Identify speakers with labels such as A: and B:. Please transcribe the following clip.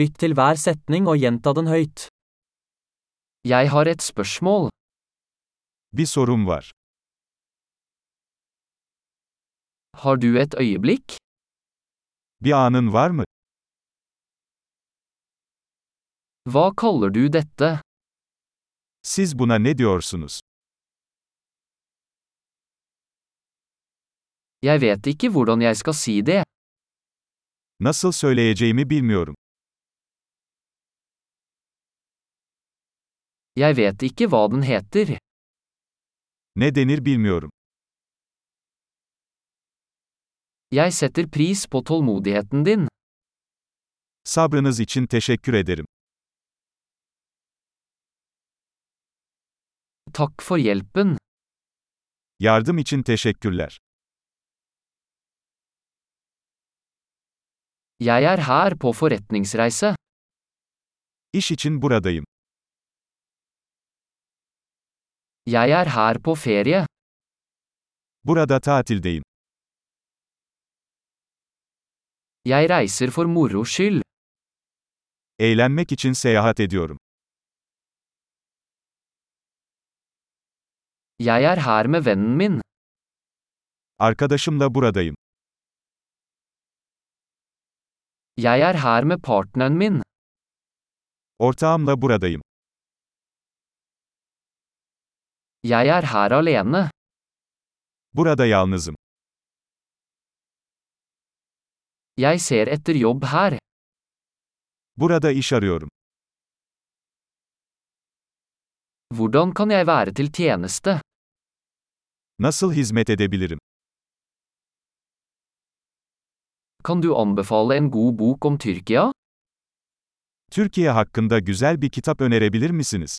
A: Lytt til hver setning og gjenta den høyt. Jeg har et spørsmål.
B: Bir sorum var.
A: Har du et øyeblikk?
B: Bir anın var mı?
A: Hva kaller du dette?
B: Siz buna ne diyorsunuz?
A: Jeg vet ikke hvordan jeg skal si det.
B: Nasıl söyleyeceğimi bilmiyorum.
A: Jeg vet ikke hva den heter.
B: Ne denir bilmiyorum.
A: Jeg setter pris på tålmodigheten din.
B: Sabrınız için teşekkür ederim.
A: Takk for hjelpen.
B: Yardım için teşekkürler.
A: Jeg er her på forretningsreise.
B: İş için buradayım.
A: Jeg er her på ferie.
B: Burada tatildeyim.
A: Jeg reiser for moro skyld.
B: Eğlenmek için seyahat ediyorum.
A: Jeg er her med vennen min.
B: Arkadaşımla buradayım.
A: Jeg er her med partneren min.
B: Ortağımla buradayım.
A: Jeg er her alene.
B: Burada yalnızım.
A: Jeg ser etter jobb her.
B: Burada iş arıyorum.
A: Hvordan kan jeg være til tjeneste?
B: Nasıl hizmet edebilirim?
A: Kan du anbefale en god bok om Tyrkia?
B: Türkiye hakkında güzel bir kitap önerebilir misiniz?